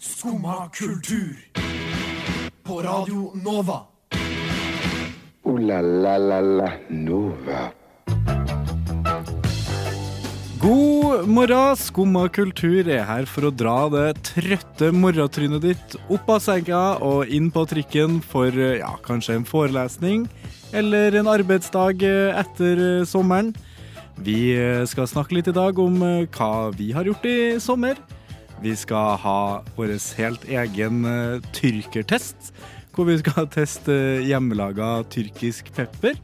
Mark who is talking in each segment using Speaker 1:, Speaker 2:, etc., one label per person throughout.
Speaker 1: Skumma kultur. På Radio Nova.
Speaker 2: Ooh la la la la Nova.
Speaker 3: God morgen, Skumma kultur er her for å dra det trøtte morgentrynet ditt opp av senga og inn på trikken for ja, kanskje en forelesning eller en arbeidsdag eh, etter eh, sommeren. Vi eh, skal snakke litt i dag om eh, hva vi har gjort i sommer. Vi skal ha vår helt egen eh, tyrkertest, hvor vi skal teste hjemmelaga tyrkisk pepper.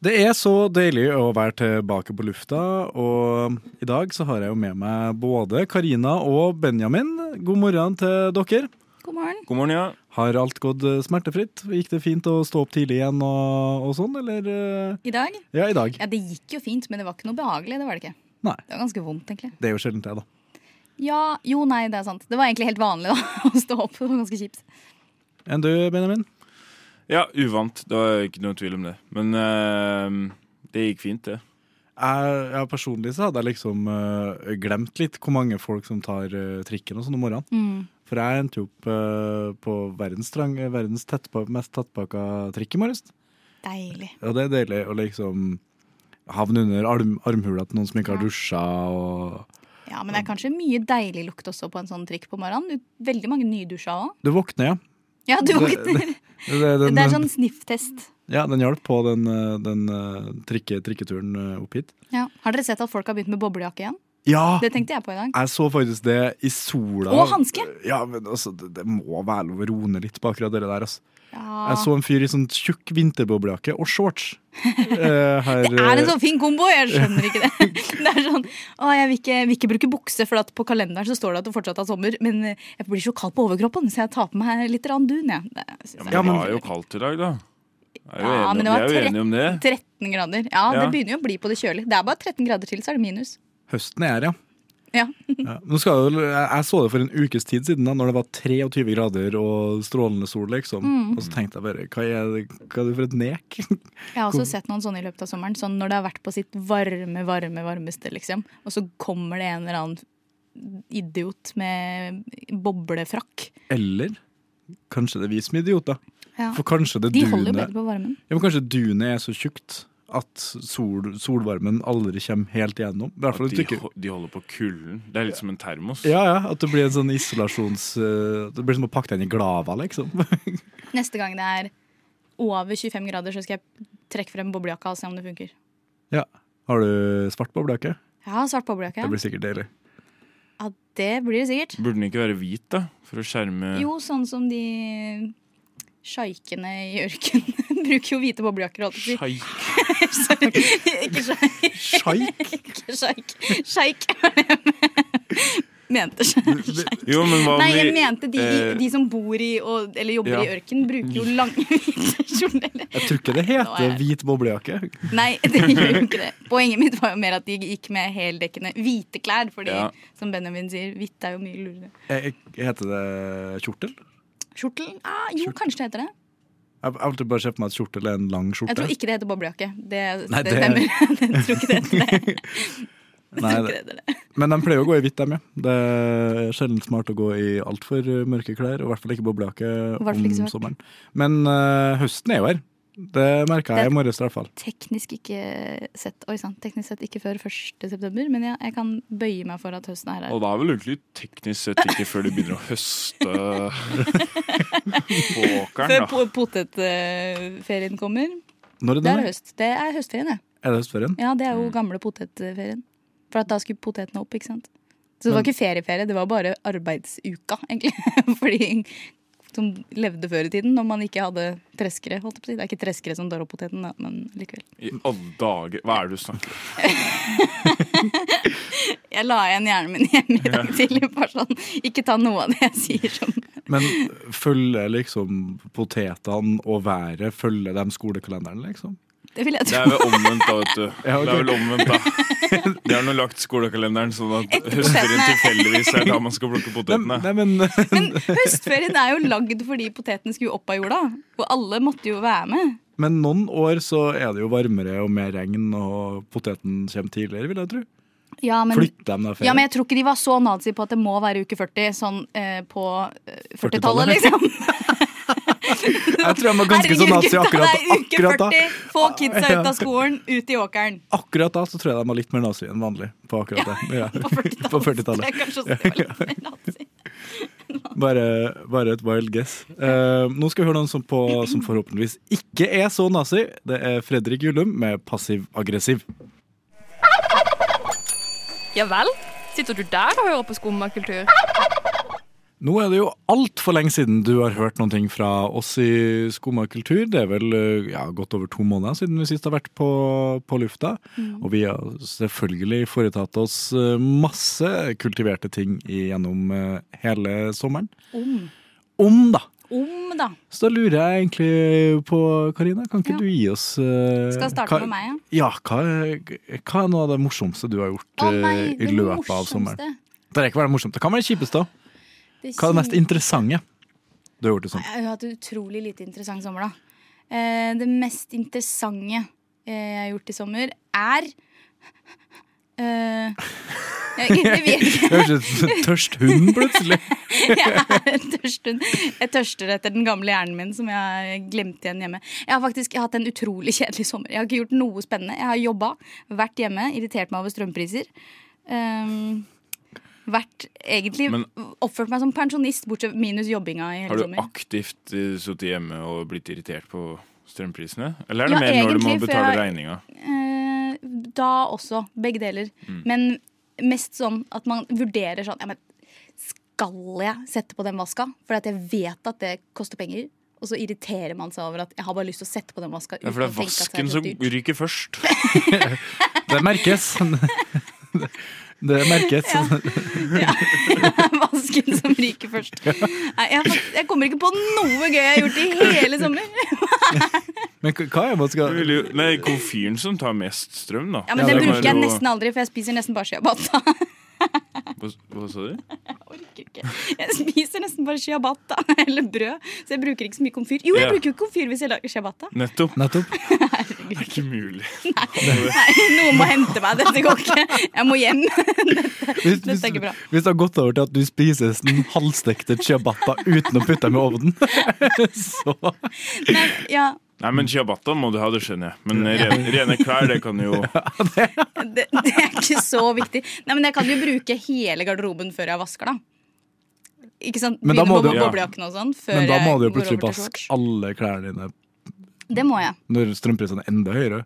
Speaker 3: Det er så deilig å være tilbake på lufta, og i dag så har jeg jo med meg både Karina og Benjamin. God morgen til dere.
Speaker 4: God morgen.
Speaker 5: God morgen, ja.
Speaker 3: Har alt gått eh, smertefritt? Gikk det fint å stå opp tidlig igjen og, og sånn, eller? eh?
Speaker 4: I dag?
Speaker 3: Ja, i dag.
Speaker 4: Ja, Det gikk jo fint, men det var ikke noe behagelig. Det var det ikke.
Speaker 3: Nei,
Speaker 4: Det var ganske vondt, egentlig.
Speaker 3: det er jo sjelden det, da.
Speaker 4: Ja, jo, nei, det er sant. Det var egentlig helt vanlig da, å stå opp. Det var ganske kjipt.
Speaker 3: Enn du, Benjamin?
Speaker 5: Ja, uvant. Det var ikke noe tvil om det. Men eh, det gikk fint, det.
Speaker 3: Jeg, jeg personlig så hadde jeg liksom eh, glemt litt hvor mange folk som tar eh, trikken og sånn om morgenen.
Speaker 4: Mm.
Speaker 3: For jeg endte jo opp eh, på verdens, trang, eh, verdens tettpa, mest tettpakka trikk i morges.
Speaker 4: Deilig.
Speaker 3: Og det er deilig å liksom havne under arm, armhula til noen som ikke har
Speaker 4: Ja.
Speaker 3: dusja og
Speaker 4: Ja, Men det er kanskje mye deilig lukt også på en sånn trikk på morgenen. Du- Veldig mange nydusja òg.
Speaker 3: Du våkner, ja.
Speaker 4: Ja, du
Speaker 3: Det-
Speaker 4: våkner.
Speaker 3: Det, det, den-
Speaker 4: Det er sånn snifftest.
Speaker 3: Ja, den hjalp på den, eh, den eh, trikke, trikketuren eh, opp hit.
Speaker 4: Ja. Har dere sett at folk har begynt med boblejakke igjen?
Speaker 3: Ja!
Speaker 4: Det tenkte jeg på i dag.
Speaker 3: Jeg så faktisk det i sola.
Speaker 4: Og hanske!
Speaker 3: Ja, men altså, det, det må være lov å roe litt på akkurat det der. Altså.
Speaker 4: Ja.
Speaker 3: Jeg så en fyr i sånn tjukk vinterboblejakke og shorts. eh, her,
Speaker 4: Det er en
Speaker 3: eh,
Speaker 4: sånn fin kombo! Jeg skjønner ikke det. Det er sånn, å, Jeg vil ikke, vil ikke bruke bukse, for at på kalenderen så står det at det fortsatt er sommer. Men eh, jeg blir så kald på overkroppen, så jeg tar på meg litt rann dun. Jeg. Det, synes jeg er
Speaker 5: Ja, men,
Speaker 3: Ja, men-
Speaker 5: det var jo kaldt i dag, da. Jeg er jo
Speaker 4: Ja,
Speaker 5: enig,
Speaker 4: men det var
Speaker 5: vi er jo
Speaker 4: trett-
Speaker 5: enige om det.
Speaker 4: 13 grader. Ja,
Speaker 5: Ja.
Speaker 4: det begynner jo å bli på det kjølige. Det er bare 13 grader til, så er det minus.
Speaker 3: eh, Høsten er her, ja.
Speaker 4: Ja.
Speaker 3: ja. Nå skal jeg, jeg, jeg så det for en ukes tid siden, da når det var 23 grader og strålende sol, liksom.
Speaker 4: Mm.
Speaker 3: Og så tenkte jeg bare hva er, det, hva er det for et nek?
Speaker 4: Jeg har også sett noen sånne i løpet av sommeren. Sånn når det har vært på sitt varme, varme, varmeste, liksom. Og så kommer det en eller annen idiot med boblefrakk.
Speaker 3: Eller kanskje det er vi som er idioter.
Speaker 4: Ja.
Speaker 3: For kanskje det
Speaker 4: De holder jo
Speaker 3: dunet-
Speaker 4: bedre på varmen.
Speaker 3: Ja, men Kanskje dunet er så tjukt at sol, solvarmen aldri kommer helt igjennom. I hvert fall
Speaker 5: At
Speaker 3: et
Speaker 5: de,
Speaker 3: stykke.
Speaker 5: ho- de holder på kulden. Det er litt som en termos.
Speaker 3: Ja, ja, At det blir en sånn isolasjons... eh, Det blir som å pakke den i glava, liksom.
Speaker 4: Neste gang det er over 25 grader, så skal jeg trekke frem boblejakka og se om det funker.
Speaker 3: Ja. Har du svart boblejakke?
Speaker 4: Jeg har svart boblejakke.
Speaker 3: Det
Speaker 4: Ja.
Speaker 3: blir sikkert deilig.
Speaker 4: ja, det blir det sikkert.
Speaker 5: Burde den ikke være hvit, da? For å skjerme
Speaker 4: Jo, sånn som de sjeikene i ørkenen bruker jo hvite boblejakker. holdt jeg på å si.
Speaker 5: Skeik.
Speaker 4: Sorry. Ikke
Speaker 3: Sjeik!
Speaker 4: sjeik, ikke sjeik. Sjeik var det jeg mente. Sjeik.
Speaker 5: Jo, men hva om
Speaker 4: Nei, jeg
Speaker 5: vi-
Speaker 4: mente de,
Speaker 5: eh,
Speaker 4: de som bor i og, eller jobber
Speaker 5: ja.
Speaker 4: i ørken, bruker jo lange hvite kjoler.
Speaker 3: Jeg tror ikke det heter
Speaker 4: er-
Speaker 3: hvit boblejakke.
Speaker 4: Nei, det gjør jo ikke det. Poenget mitt var jo mer at de gikk med heldekkende hvite klær. Fordi,
Speaker 5: Ja.
Speaker 4: som Benjamin sier, hvitt er jo mye lurere.
Speaker 3: Eh, Heter det kjortel?
Speaker 4: Skjortel? Ah, jo, kanskje det heter det.
Speaker 3: Jeg jeg har alltid bare sett for meg at kjortel er en lang skjorte.
Speaker 4: Jeg tror ikke det heter boblejakke. Det,
Speaker 3: Nei,
Speaker 4: det
Speaker 3: det-
Speaker 4: stemmer. jeg tror ikke det heter det. Jeg
Speaker 3: Nei,
Speaker 4: tror ikke
Speaker 3: det.
Speaker 4: det heter det.
Speaker 3: Men de pleier å gå i hvitt, dem, ja. Det er sjelden smart å gå i altfor mørke klær, og i hvert fall ikke boblejakke
Speaker 4: Og i hvert fall ikke
Speaker 3: om
Speaker 4: svart.
Speaker 3: sommeren. Men eh, høsten er jo her. Det merka jeg
Speaker 4: Det-
Speaker 3: i morges i hvert fall.
Speaker 4: Teknisk ikke sett Oi sann, teknisk sett ikke før 1. september, men jeg, jeg kan bøye meg for at høsten er her.
Speaker 5: Og det er vel egentlig teknisk sett ikke før de begynner å høste på
Speaker 4: Før
Speaker 5: åkeren, da.
Speaker 4: po- potetferien kommer.
Speaker 3: Når er
Speaker 4: Det
Speaker 3: det?
Speaker 4: er
Speaker 3: nå?
Speaker 4: høst. Det er høstferien, det.
Speaker 3: Er det høstferien?
Speaker 4: Ja, det er jo gamle potetferien. For at da skulle potetene opp, ikke sant. Så det var ikke ferieferie, det var bare arbeidsuka, egentlig. Fordi som levde før i tiden, når man ikke hadde treskere. holdt jeg på å si. Det er ikke treskere som drar opp poteten, da, men likevel.
Speaker 5: I alle dager Hva er det du snakker om?
Speaker 4: Jeg la igjen hjernen min hjemme i dag tidlig. bare sånn, Ikke ta noe av det jeg sier som
Speaker 3: Men følger liksom potetene og været Følger de skolekalenderen, liksom?
Speaker 4: Det vil jeg
Speaker 5: Det er
Speaker 4: tro.
Speaker 5: vel omvendt, da, vet du.
Speaker 3: Ja, ok.
Speaker 5: Det er vel omvendt, da. De har nå lagt skolekalenderen sånn at
Speaker 4: Etter
Speaker 5: høstferien
Speaker 4: potetene.
Speaker 5: tilfeldigvis er da man skal plukke
Speaker 3: Nei,
Speaker 5: potetene.
Speaker 3: nei, men
Speaker 4: Men høstferien er jo lagd fordi potetene skulle opp av jorda. Og alle måtte jo være med.
Speaker 3: Men noen år så er det jo varmere og mer regn, og poteten kommer tidligere, vil jeg tro.
Speaker 4: Ja, men...
Speaker 3: Flytter de da ferie?
Speaker 4: Ja, men jeg tror ikke de var så nazi på at det må være uke 40, sånn eh, på eh, 40-tallet,
Speaker 3: 40-tallet,
Speaker 4: liksom.
Speaker 3: jeg tror de var ganske så nazi
Speaker 4: gutta,
Speaker 3: akkurat,
Speaker 4: det er uke
Speaker 3: akkurat da.
Speaker 4: 40! Få kidsa ut av skolen, ut i åkeren.
Speaker 3: Akkurat da så tror jeg de var litt mer nazi enn vanlig på akkurat det. Ja.
Speaker 4: På 40-tallet.
Speaker 3: På 40-tallet.
Speaker 4: Det er kanskje også det var litt mer nazi.
Speaker 3: Bare, bare et wild guess. Eh, nå skal vi høre noen som, på, som forhåpentligvis ikke er så nazi. Det er Fredrik Julum med 'Passiv aggressiv'.
Speaker 6: Ja vel? Sitter du der og hører på skummakultur?
Speaker 3: Nå er det jo altfor lenge siden du har hørt noen ting fra oss i Skumma kultur. Det er vel eh, ja, godt over to måneder siden vi sist har vært på, på lufta. Og vi har selvfølgelig foretatt oss eh, masse kultiverte ting gjennom eh, hele sommeren.
Speaker 4: Om.
Speaker 3: Om, da!
Speaker 4: Om, da.
Speaker 3: Så da lurer jeg egentlig på, Karina, kan ikke
Speaker 4: Ja.
Speaker 3: du gi oss eh,
Speaker 4: Skal jeg starte
Speaker 3: hva-
Speaker 4: med meg, ja?
Speaker 3: Ja, hva, er- hva er noe av det morsomste du har gjort
Speaker 4: Å nei,
Speaker 3: eh,
Speaker 4: det
Speaker 3: i løpet av sommeren?
Speaker 4: morsomste.
Speaker 3: Det trenger ikke være det morsomt. Det kan være det kjipeste òg.
Speaker 4: Det
Speaker 3: Hva er det mest interessante du har gjort i sommer?
Speaker 4: Jeg har hatt en utrolig lite interessant sommer, da. Eh, det mest interessante eh, jeg har gjort i sommer, er eh, jeg, jeg vet ikke.
Speaker 3: Det høres ut som en tørst hund plutselig.
Speaker 4: Jeg er en tørst hund. Jeg tørster etter den gamle hjernen min som jeg glemte igjen hjemme. Jeg har faktisk hatt en utrolig kjedelig sommer. Jeg har ikke gjort noe spennende. Jeg har jobba, vært hjemme, irritert meg over strømpriser. Ehm, vært egentlig
Speaker 5: Men-
Speaker 4: Oppført meg som pensjonist, bortsett minus jobbinga i hele
Speaker 5: Har du
Speaker 4: sommer.
Speaker 5: aktivt eh, sittet hjemme og blitt irritert på strømprisene? Eller er det
Speaker 4: Ja,
Speaker 5: mer når du må
Speaker 4: egentlig, for
Speaker 5: betale
Speaker 4: jeg-
Speaker 5: regninga?
Speaker 4: Eh, da også. Begge deler.
Speaker 5: Mm.
Speaker 4: Men mest sånn at man vurderer sånn ja, men Skal jeg sette på den vaska? For at jeg vet at det koster penger. Og så irriterer man seg over at jeg har bare lyst til å sette på den vaska.
Speaker 5: Ja,
Speaker 4: uten
Speaker 5: for det er
Speaker 4: å tenke at
Speaker 5: vasken
Speaker 4: så
Speaker 5: som
Speaker 4: dyrt.
Speaker 5: ryker først.
Speaker 3: Det merkes. Det merkes.
Speaker 4: Vasken som ryker først. Nei, jeg, har fakt- jeg kommer ikke på noe gøy jeg har gjort i hele sommer.
Speaker 3: Men k- hva er det man
Speaker 5: Du
Speaker 3: skal
Speaker 5: vil jo- Nei, komfyren som tar mest strøm, da.
Speaker 4: Ja,
Speaker 3: Ja,
Speaker 4: men Den
Speaker 3: det
Speaker 4: bruker jeg
Speaker 5: må jo-
Speaker 4: nesten aldri, for jeg spiser nesten bare shiabata.
Speaker 5: Hva, hva sa du?
Speaker 4: orker ikke. Jeg spiser nesten bare ciabatta eller brød, så jeg bruker ikke så mye komfyr. Jo, jeg
Speaker 5: Ja.
Speaker 4: bruker jo komfyr hvis jeg lager ciabatta.
Speaker 5: Nettopp.
Speaker 3: Nettopp.
Speaker 5: Det er ikke mulig.
Speaker 4: Nei, noen må hente meg. Dette går ikke. Jeg må hjem.
Speaker 3: Hvis,
Speaker 4: Dette er ikke bra.
Speaker 3: hvis det har gått over til at du spiser en halvstekte ciabatta uten å putte dem i ovnen, så
Speaker 4: Men, ja,
Speaker 5: Nei, men ciabatta må du ha, det skjønner jeg. Men eh, rene, rene klær, det kan jo
Speaker 4: det, det er ikke så viktig. Nei, men jeg kan jo bruke hele garderoben før jeg vasker, da. Ikke sant?
Speaker 3: Men da
Speaker 4: Begynne
Speaker 3: må
Speaker 4: med
Speaker 3: du-
Speaker 4: boblejakken og sånn. Før
Speaker 3: Men da må
Speaker 4: jeg
Speaker 3: du jo
Speaker 4: går
Speaker 3: plutselig
Speaker 4: over til
Speaker 3: vaske
Speaker 4: shorts.
Speaker 3: alle klærne dine
Speaker 4: Det må jeg.
Speaker 3: når strømprisene er enda høyere.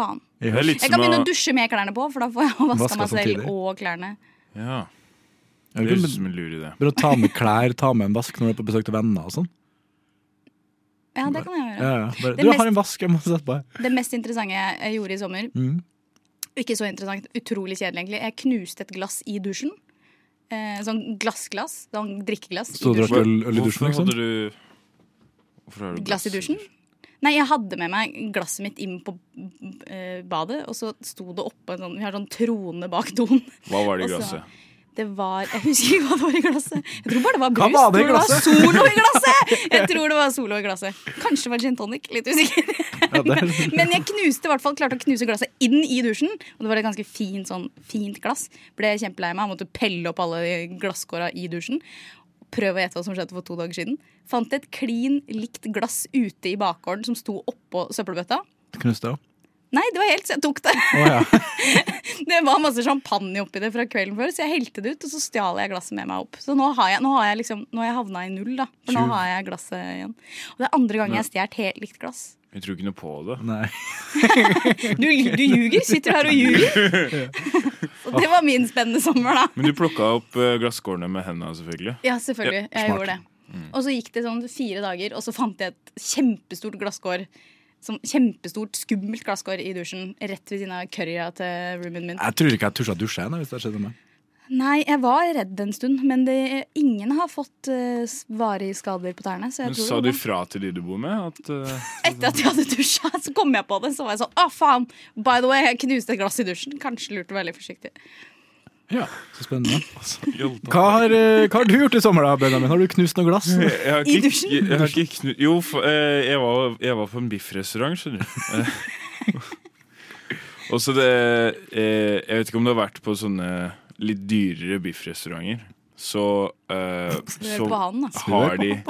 Speaker 4: Faen.
Speaker 3: i
Speaker 5: Det er
Speaker 3: høst.
Speaker 5: litt
Speaker 4: Jeg kan
Speaker 5: som
Speaker 4: begynne
Speaker 5: å
Speaker 4: å dusje med klærne på, for da får jeg vaska
Speaker 3: Vaska
Speaker 4: meg
Speaker 3: samtidig.
Speaker 4: selv og klærne.
Speaker 5: Ja,
Speaker 3: Er
Speaker 5: det
Speaker 3: det
Speaker 5: høres
Speaker 3: ikke
Speaker 5: ut som en lur idé.
Speaker 3: Bare å ta med klær, ta med en vask når du er på besøk til venner og sånn.
Speaker 4: Ja, det kan jeg gjøre.
Speaker 3: Ja, ja. Bare,
Speaker 4: Det
Speaker 3: du, jeg
Speaker 4: mest-
Speaker 3: har en vask jeg må sette på. her.
Speaker 4: Det mest interessante jeg gjorde i sommer
Speaker 3: Mhm.
Speaker 4: Ikke så interessant, utrolig kjedelig egentlig Jeg knuste et glass i dusjen eh, Sånn glassglass, sånn drikkeglass
Speaker 3: Stod
Speaker 4: i
Speaker 3: dere Drakk
Speaker 4: dusjen.
Speaker 3: øl- øl i dusjen,
Speaker 5: Hvorfor
Speaker 3: liksom?
Speaker 5: hadde du Hvorfor har du
Speaker 4: Glass i dusjen? Nei, jeg hadde med meg glasset mitt inn på eh, badet Og så sto det oppe en sånn, Vi har sånn trone bak doen
Speaker 5: Hva var det i
Speaker 4: Og så-
Speaker 5: glasset?
Speaker 4: Det var, jeg husker ikke hva det var i glasset Jeg tror bare det var brus
Speaker 3: var det i
Speaker 4: Jeg tror var solo i glasset Jeg tror det var solo i glasset Kanskje det var gin tonic, litt usikker
Speaker 3: Ja, det er...
Speaker 4: Men jeg knuste i hvert fall, klarte å knuse glasset inn i dusjen. Og det var et ganske fint, sånn, fint glass. Ble kjempelei meg, måtte pelle opp alle de glasskåra i dusjen. Prøv å gjette hva som skjedde for to dager siden. Fant et klin likt glass ute i bakgården som sto oppå søppelbøtta.
Speaker 3: Knust det òg?
Speaker 4: Nei, det var helt, så jeg tok det.
Speaker 3: Å ja.
Speaker 4: Det var masse champagne oppi det fra kvelden før, så jeg helte det ut, og så stjal jeg glasset med meg opp. Så nå har jeg, nå har jeg liksom, nå har jeg havna i null, da. For nå
Speaker 3: Tjuv.
Speaker 4: har jeg glasset igjen. Og det er andre gangen jeg har stjålet helt likt glass.
Speaker 5: Jeg tror ikke noe på det.
Speaker 3: Nei.
Speaker 4: Du, du ljuger. Sitter her og ljuger. Så det var min spennende sommer, da.
Speaker 5: Men du plukka opp eh, glasskårene med hendene, selvfølgelig.
Speaker 4: Ja, selvfølgelig.
Speaker 3: Ja,
Speaker 4: jeg
Speaker 3: smart. Mm.
Speaker 4: gjorde det. Og så gikk det sånn fire dager, og så fant jeg et kjempestort glasskår. Sånn kjempestort, skummelt glasskår i dusjen rett ved siden av currya til roomien min.
Speaker 3: Jeg tror ikke jeg turte å dusje jeg, nå, hvis det skjedde meg.
Speaker 4: Nei, jeg var redd en stund, men det, ingen har fått eh, s- varige skader på tærne. Så jeg
Speaker 5: Men
Speaker 4: tror
Speaker 5: sa
Speaker 4: det
Speaker 5: du
Speaker 4: var bra.
Speaker 5: fra til de du bor med? At, eh,
Speaker 4: Etter at jeg hadde dusja, så kom jeg på det. Så var jeg sånn Å, faen! By the way, jeg knuste et glass i dusjen. Kanskje lurt å være litt forsiktig.
Speaker 3: Ja, så spennende. Altså,
Speaker 5: hjelp.
Speaker 3: Hva har, eh, hva har du gjort i sommer, da, Benjamin? Har du knust noe glass?
Speaker 5: Jeg- jeg har
Speaker 4: I
Speaker 5: ikke-
Speaker 4: dusjen?
Speaker 5: Jeg, jeg har ikke knu... Jo, for, eh, jeg, var, jeg var på en biffrestaurant, skjønner du. Eh, Og så det eh, Jeg vet ikke om du har vært på sånne litt dyrere biffrestauranter. Så, eh,
Speaker 4: Hør på
Speaker 5: så
Speaker 4: han, da.
Speaker 5: har de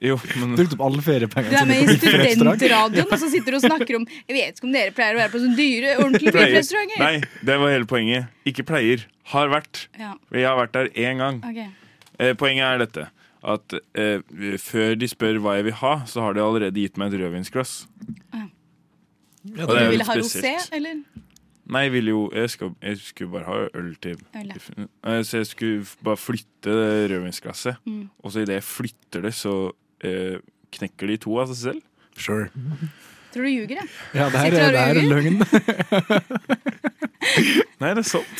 Speaker 5: Jo, men
Speaker 3: Brukt opp alle
Speaker 4: Du er
Speaker 3: feriepengene
Speaker 4: med i
Speaker 3: Restaurant.
Speaker 4: studentradioen, og så sitter du og snakker om Jeg vet ikke om dere pleier å være på sånne dyre, ordentlige
Speaker 5: Pleier.
Speaker 4: biffrestauranter.
Speaker 5: Nei, det var hele poenget. Ikke pleier. Har vært.
Speaker 4: Ja,
Speaker 5: Jeg har vært der én gang.
Speaker 4: ok.
Speaker 5: Eh, poenget er dette. At eh, før de spør hva jeg vil ha, så har de allerede gitt meg et rødvinsglass.
Speaker 3: Ja,
Speaker 5: Og det
Speaker 4: Du
Speaker 5: er
Speaker 4: ville
Speaker 5: litt
Speaker 4: Ah. ha rosé,
Speaker 5: spesielt.
Speaker 4: eller?
Speaker 5: Nei, jeg ville jo Jeg skulle, jeg skulle bare ha øl til
Speaker 4: Øl,
Speaker 5: Eh, Så jeg skulle f- bare flytte det rødvinsglasset.
Speaker 4: Mm.
Speaker 5: Og så idet jeg flytter det, så eh, knekker de to av seg selv.
Speaker 3: Sure.
Speaker 4: Tror du ljuger, jeg.
Speaker 3: Ja, det her,
Speaker 4: Sitter
Speaker 3: er-
Speaker 4: og
Speaker 3: det her er løgn.
Speaker 5: Nei, det er sant.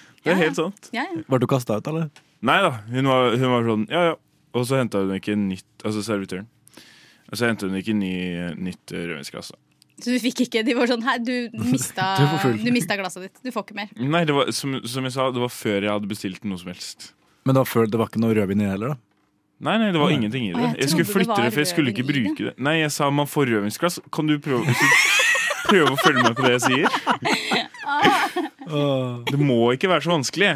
Speaker 5: Det er helt sant.
Speaker 4: Mm. Ja, ja.
Speaker 3: Ble du kasta ut, eller?
Speaker 5: Nei da. Hun var, hun var sånn ja, ja. Og så henta hun ikke nytt Altså servitøren. Og så henta hun ikke ny, nytt eh, rødvinsglass. da.
Speaker 4: Så du fikk ikke De var sånn Hei, du mista,
Speaker 3: Du får full.
Speaker 4: du mista glasset ditt. Du får ikke mer.
Speaker 5: Nei, det var, som, som jeg sa, det var før jeg hadde bestilt noe som helst.
Speaker 3: Men det var, før, det var ikke noe rødvin i det heller, da?
Speaker 5: Nei, nei, det var
Speaker 3: Nei.
Speaker 5: ingenting i
Speaker 4: Å,
Speaker 5: det.
Speaker 4: jeg
Speaker 5: Jeg
Speaker 4: trodde
Speaker 5: skulle
Speaker 4: det
Speaker 5: flytte
Speaker 4: var
Speaker 5: det, for jeg skulle ikke
Speaker 4: rødvin i
Speaker 5: bruke det. Nei, jeg sa man får rødvinsglass. Kan du prøve, hvis du prøve å følge med på det jeg sier? Det må ikke være så vanskelig.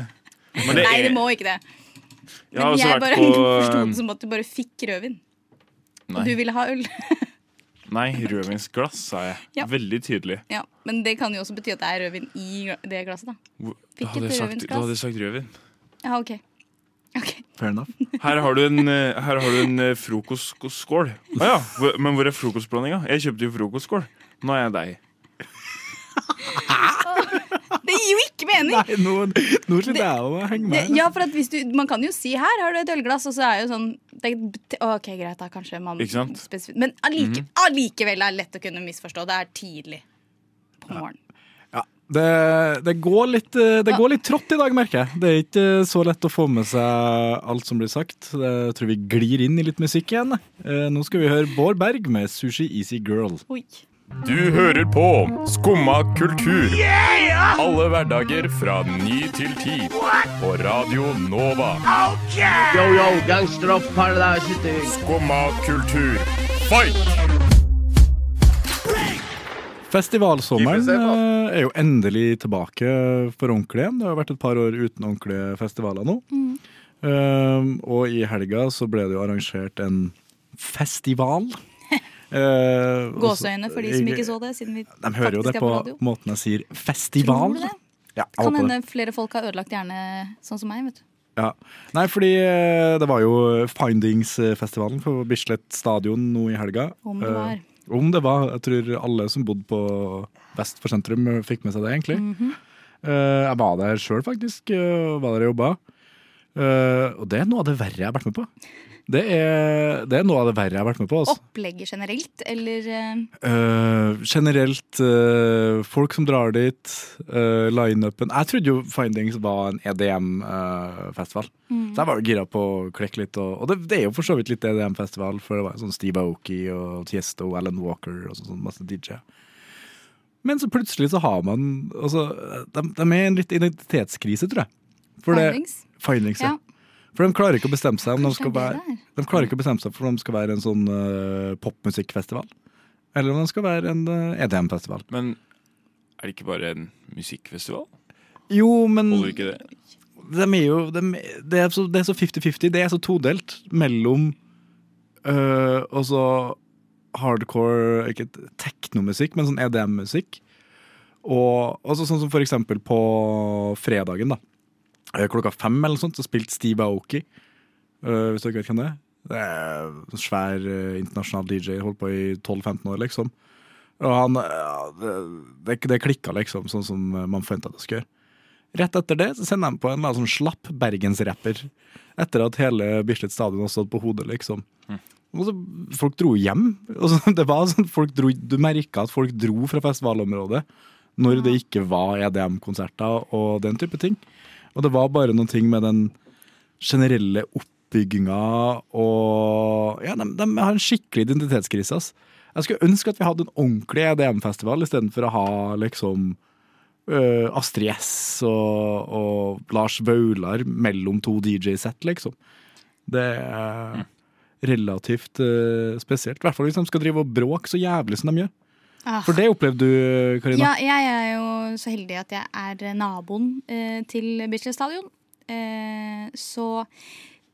Speaker 5: Men det
Speaker 4: Nei,
Speaker 5: er,
Speaker 4: det må ikke det.
Speaker 5: jeg
Speaker 4: Men
Speaker 5: har også
Speaker 4: jeg bare
Speaker 5: vært
Speaker 4: forsto
Speaker 3: um,
Speaker 4: det
Speaker 5: på
Speaker 4: som at du bare fikk rødvin. Og du
Speaker 5: Nei,
Speaker 4: ville ha øl.
Speaker 5: nei rødvinsglass, sa
Speaker 4: Ja.
Speaker 5: jeg. Veldig tydelig.
Speaker 4: Ja, Men det kan jo også bety at det er rødvin i det glasset, da.
Speaker 5: Hvor-
Speaker 4: Fikk
Speaker 5: Da hadde
Speaker 4: et
Speaker 5: jeg sagt, da
Speaker 4: rødvinsglass.
Speaker 5: hadde jeg sagt rødvin.
Speaker 4: Ja, OK. Ok.
Speaker 3: Fair enough.
Speaker 5: Her har du en, eh, her har du en eh, frokostskål. Å ja, hvor- men hvor er frokostblandinga? Jeg kjøpte jo frokostskål. Nå er jeg deg.
Speaker 4: Det gir jo ikke mening!
Speaker 3: Nei, nå, nå sliter jeg med å henge
Speaker 4: Det,
Speaker 3: med. her.
Speaker 4: ja, for at hvis du, Man kan jo si 'her har du et ølglass', og så er jo sånn det, OK, greit, da kanskje man
Speaker 5: Ikke sant?
Speaker 4: spesif- Men allike,
Speaker 3: Mhm.
Speaker 4: allikevel er det lett å kunne misforstå. Det er tidlig på morgenen.
Speaker 3: Det, det, går litt, eh, det går litt trått i dag, merker jeg. Det er ikke eh, så lett å få med seg alt som blir sagt. Det- Jeg tror vi glir inn i litt musikk igjen. Eh, Nå skal vi høre Bård Berg med 'Sushi Easy Girl'.
Speaker 4: Oi.
Speaker 7: Du hører på Skumma kultur. Alle hverdager fra ny til ti. På Radio Nova.
Speaker 8: Yo, yo, gangsterrock paradise.
Speaker 7: Skumma kultur. Fight!
Speaker 3: Festivalsommeren
Speaker 7: Keep it safe,
Speaker 3: eh, er jo endelig tilbake for ordentlig igjen. Det har vært et par år uten ordentlige festivaler nå.
Speaker 4: Mm.
Speaker 3: Eh, og i helga så ble det jo arrangert en festival. Uh,
Speaker 4: Gåseøyne for de som ikke så det, siden vi
Speaker 3: De hører jo
Speaker 4: faktisk
Speaker 3: det
Speaker 4: er
Speaker 3: på
Speaker 4: på radio.
Speaker 3: måten jeg sier festival.
Speaker 4: Tror du det?
Speaker 3: Ja, jeg
Speaker 4: Kan
Speaker 3: håper det.
Speaker 4: hende flere folk har ødelagt hjerne sånn som meg. vet du
Speaker 3: Ja. Nei, fordi eh, det var jo Findingsfestivalen på Bislett stadion nå i helga.
Speaker 4: Om det var.
Speaker 3: Eh, om det var. Jeg tror alle som bodde på vest for sentrum eh, fikk med seg det, egentlig.
Speaker 4: Mhm.
Speaker 3: Eh, jeg var der sjøl, faktisk, eh, og var der og jobba. Eh, og det er noe av det verre jeg har vært med på. Det er, det er noe av det verre jeg har vært med på. Altså.
Speaker 4: Opplegget generelt, eller eh,
Speaker 3: Eh, generelt, eh, folk som drar dit, uh, line-upen Jeg trodde jo Findings var en E EDM-festival. eh, Så jeg var jo gira på å klekke litt. Og, og det, det er jo for så vidt litt E EDM-festival, for det var jo sånn Steve Aoki og Tiesto og Alan Walker og sånn, sånn masse DJ-er. Men så plutselig så har man altså, de, de er i en litt identitetskrise, tror jeg. For det-
Speaker 4: Findings?
Speaker 3: Findings, ja.
Speaker 4: Ja.
Speaker 3: For de klarer ikke å bestemme seg om de
Speaker 4: Kanskje
Speaker 3: skal
Speaker 4: det er
Speaker 3: være
Speaker 4: det der?
Speaker 3: De klarer ikke å bestemme seg for om de skal være en sånn eh, popmusikkfestival. Eller om de skal være en eh, EDM-festival.
Speaker 5: Men er det ikke bare en musikkfestival?
Speaker 3: Jo, men
Speaker 5: Holder ikke det?
Speaker 3: de er jo, dem- det er så det er så 50-50. Det er så todelt mellom eh, Og så hardcore Ikke teknomusikk, men sånn EDM-musikk. Og og så sånn som for eksempel på fredagen, da. eh, Klokka fem eller sånt, så spilte Steve Aoki. eh, hvis dere vet hvem det er. Det er en svær eh, internasjonal DJ, holdt på i 12-15 år, liksom. Og han ja, Det, det, det klikka, liksom, sånn som man forventa det skulle gjøre. Rett etter det så sender de på en eller annen sånn slapp bergensrapper. Etter at hele Bislett Stadion har stått på hodet, liksom. Og så, folk dro hjem. Og så, det var sånn, folk dro, Du merka at folk dro fra festivalområdet når det ikke var EDM-konserter og den type ting. Og det var bare noen ting med den generelle oppbygginga og Ja, de, de har en skikkelig identitetskrise, ass. Jeg skulle ønske at vi hadde en ordentlig E EDM-festival istedenfor å ha liksom øh, Astrid S og, og Lars Vaular mellom to DJ-sett, liksom. Det er relativt øh, spesielt. I hvert fall hvis de skal drive og bråke så jævlig som de gjør.
Speaker 4: Ah.
Speaker 3: For det opplevde du, Karina?
Speaker 4: Ja, jeg er jo så heldig at jeg er naboen eh, til Bislett Stadion. Eh, så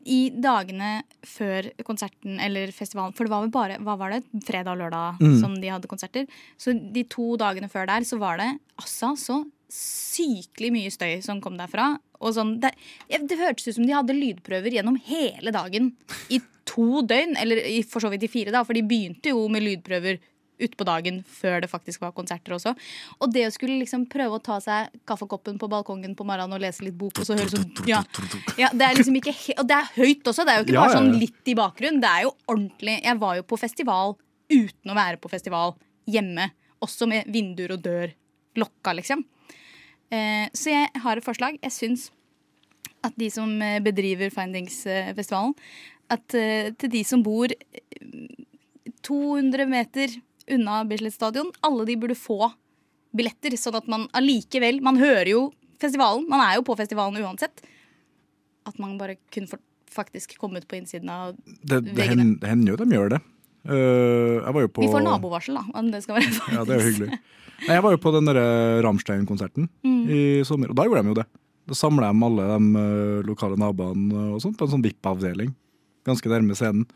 Speaker 4: i dagene før konserten eller festivalen, for det var vel bare hva var det, fredag og lørdag
Speaker 3: Mm.
Speaker 4: som de hadde konserter, så de to dagene før der så var det altså så sykelig mye støy som kom derfra. Og sånn, det, ja, det hørtes ut som de hadde lydprøver gjennom hele dagen. I to døgn, eller i, for så vidt i fire, da, for de begynte jo med lydprøver utpå dagen før det faktisk var konserter også. Og det å skulle liksom prøve å ta seg kaffekoppen på balkongen på morgenen og lese litt bok, og så høre sånn ja, ja, det er liksom ikke he Og det er høyt også, det er jo ikke
Speaker 3: Ja, ja,
Speaker 4: bare
Speaker 3: ja.
Speaker 4: sånn litt i bakgrunnen. Det er jo ordentlig Jeg var jo på festival uten å være på festival hjemme. Også med vinduer og dør lokka, liksom. Eh, så jeg har et forslag. Jeg syns at de som eh, bedriver Findingsfestivalen, at eh, til de som bor eh, 200 meter unna Bislett Stadion, alle de burde få billetter, sånn at man allikevel Man hører jo festivalen, man er jo på festivalen uansett. At man bare kunne fått- faktisk komme ut på innsiden av
Speaker 3: Det, det,
Speaker 4: veggene.
Speaker 3: hen- det hender jo de gjør det. Eh, jeg var jo på
Speaker 4: Vi får nabovarsel, da. Om det skal være
Speaker 3: Ja, det er jo hyggelig. Nei, jeg var jo på den derre Ramstein-konserten
Speaker 4: Mm.
Speaker 3: i sommer, og da gjorde de jo det. Da samla de alle de eh, lokale naboene og sånt på en sånn VIP-avdeling. Ganske nærme scenen.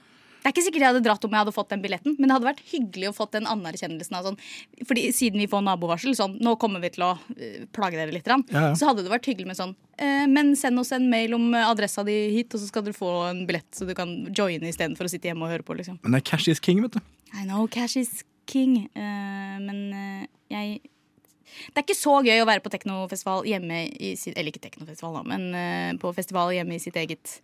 Speaker 4: Det er ikke sikkert jeg hadde dratt om jeg hadde fått den billetten, men det hadde vært hyggelig å fått den anerkjennelsen av sånn Fordi siden vi får nabovarsel, sånn nå kommer vi til å eh, plage dere litt, grann,
Speaker 3: Ja, ja.
Speaker 4: så hadde det vært hyggelig med sånn eh, Men send oss en mail om eh, adressa di hit, og så skal dere få en billett, så du kan joine istedenfor å sitte hjemme og høre på, liksom.
Speaker 3: Men det er cash is king, vet du.
Speaker 4: I know cash is king, eh, men eh, jeg det er ikke så gøy å være på teknofestival hjemme i sitt Eller ikke teknofestival, da, men eh, på festival hjemme i sitt eget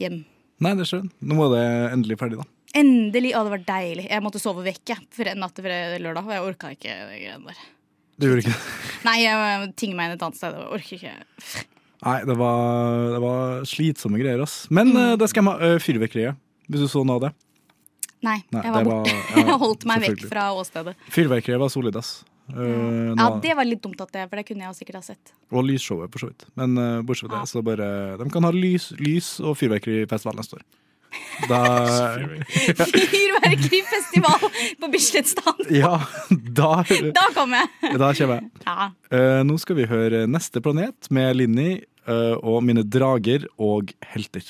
Speaker 4: hjem.
Speaker 3: Nei, det skjønner jeg. Nå var det endelig ferdig, da.
Speaker 4: Endelig! Å, det var deilig. Jeg måtte sove vekk jeg, for en natt til lørdag. Og jeg orka ikke de greiene der.
Speaker 3: Du gjorde ikke det?
Speaker 4: Nei, jeg tinga meg inn et annet sted. Jeg orker ikke.
Speaker 3: Nei, det var, det var slitsomme greier, ass. Men
Speaker 4: Mm.
Speaker 3: eh, det skal jeg ha. Uh, Fyrverkeriet. Hvis du så noe av det.
Speaker 4: Nei,
Speaker 3: Nei,
Speaker 4: jeg
Speaker 3: det
Speaker 4: var borte.
Speaker 3: var- ja,
Speaker 4: Jeg holdt meg vekk
Speaker 3: selvfølgelig.
Speaker 4: fra åstedet.
Speaker 3: Fyrverkeriet var solid, ass. Eh,
Speaker 4: Ja,
Speaker 3: nå-
Speaker 4: Det var litt dumt, at det, for det kunne jeg sikkert ha sett.
Speaker 3: Og lysshowet, for så vidt. Men eh, bortsett fra
Speaker 4: Ja.
Speaker 3: det, så bare De kan ha lys, lys og fyrverkerifestival neste år. Da,
Speaker 4: Fyrverkerifestival på Bislett Stadion!
Speaker 3: ja, da,
Speaker 4: Da kommer jeg!
Speaker 3: da kommer jeg.
Speaker 4: Ja.
Speaker 3: Eh, nå skal vi høre Neste planet med Linni eh, og Mine drager og helter.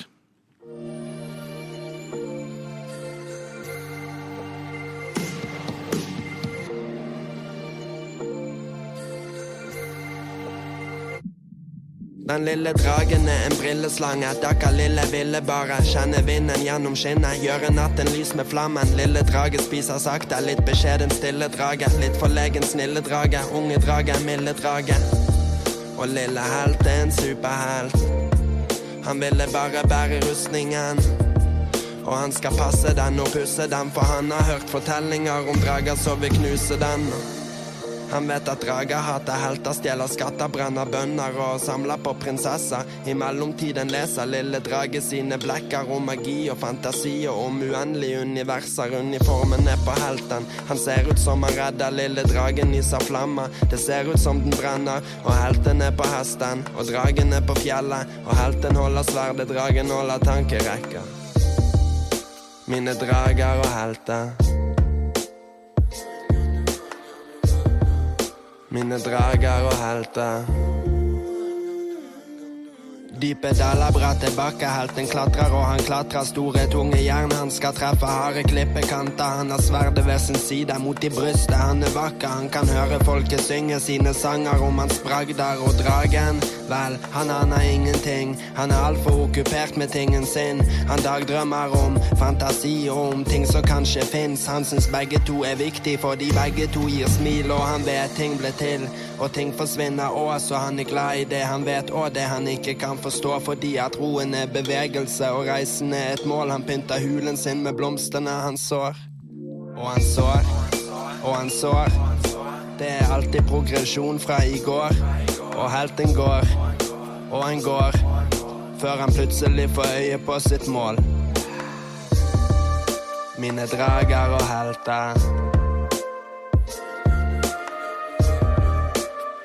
Speaker 9: Den lille dragen er en brilleslange. Dakka lille ville bare kjenne vinden gjennom skinnet. Gjøre natten lys med flammen. Lille drage spiser sakte. Litt beskjeden, stille drage. Litt forlegen, snille drage. Unge drage, milde drage. Og lille helt er en superhelt. Han ville bare bære rustningen. Og han skal passe den og pusse den, for han har hørt fortellinger om drager som vil knuse den. Han vet at drager hater helter, stjeler skatter, brenner bønner og samler på prinsesser. I mellomtiden leser lille drage sine blekker om magi og fantasi og om uendelige universer. Uniformen er på helten. Han ser ut som han redder lille dragen i sa flamme. Det ser ut som den brenner, og helten er på hesten. Og dragen er på fjellet, og helten holder sverdet, dragen holder tankerekker. Mine drager og helter. Mine drager og helter. Dype daler, bratte bakker. Helten klatrer, og han klatrer. Store, tunge jern. Han skal treffe harde klippekanter. Han har sverdet ved sin side, mot i brystet. Han er vakker, han kan høre folket synge sine sanger om hans bragder og dragen. Vel, han aner ingenting. Han er altfor okkupert med tingen sin. Han dagdrømmer om fantasi og om ting som kanskje fins. Han syns begge to er viktig, fordi begge to gir smil, og han vet ting ble til. Og ting forsvinner òg, så han er glad i det han vet, og det han ikke kan forstå, fordi at roen er bevegelse, og reisen er et mål. Han pynter hulen sin med blomstene han sår. Og han sår, og han sår. Det er alltid progresjon fra i går. Og helten går, og han går. Før han plutselig får øye på sitt mål. Mine drager og helter.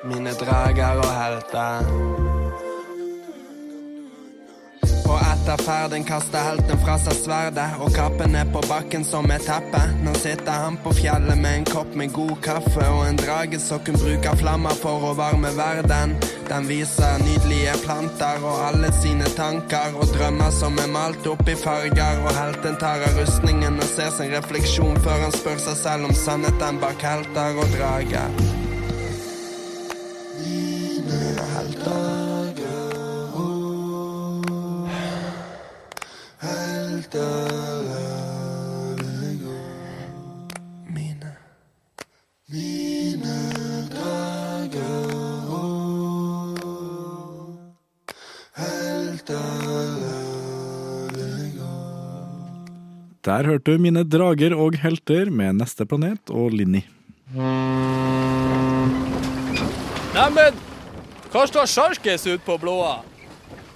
Speaker 9: Mine drager og helter. Og etter ferden kaster helten fra seg sverdet og kappen er på bakken som et teppe. Nå sitter han på fjellet med en kopp med god kaffe og en drage som kun bruker flammer for å varme verden. Den viser nydelige planter og alle sine tanker og drømmer som er malt opp i farger. Og helten tar av rustningen og ser sin refleksjon før han spør seg selv om sannheten bak helter og drager. Mine helter
Speaker 3: Der hørte du mine drager og helter med Neste planet og Linni.
Speaker 10: Neimen, hva står sjarkes ut på blåa?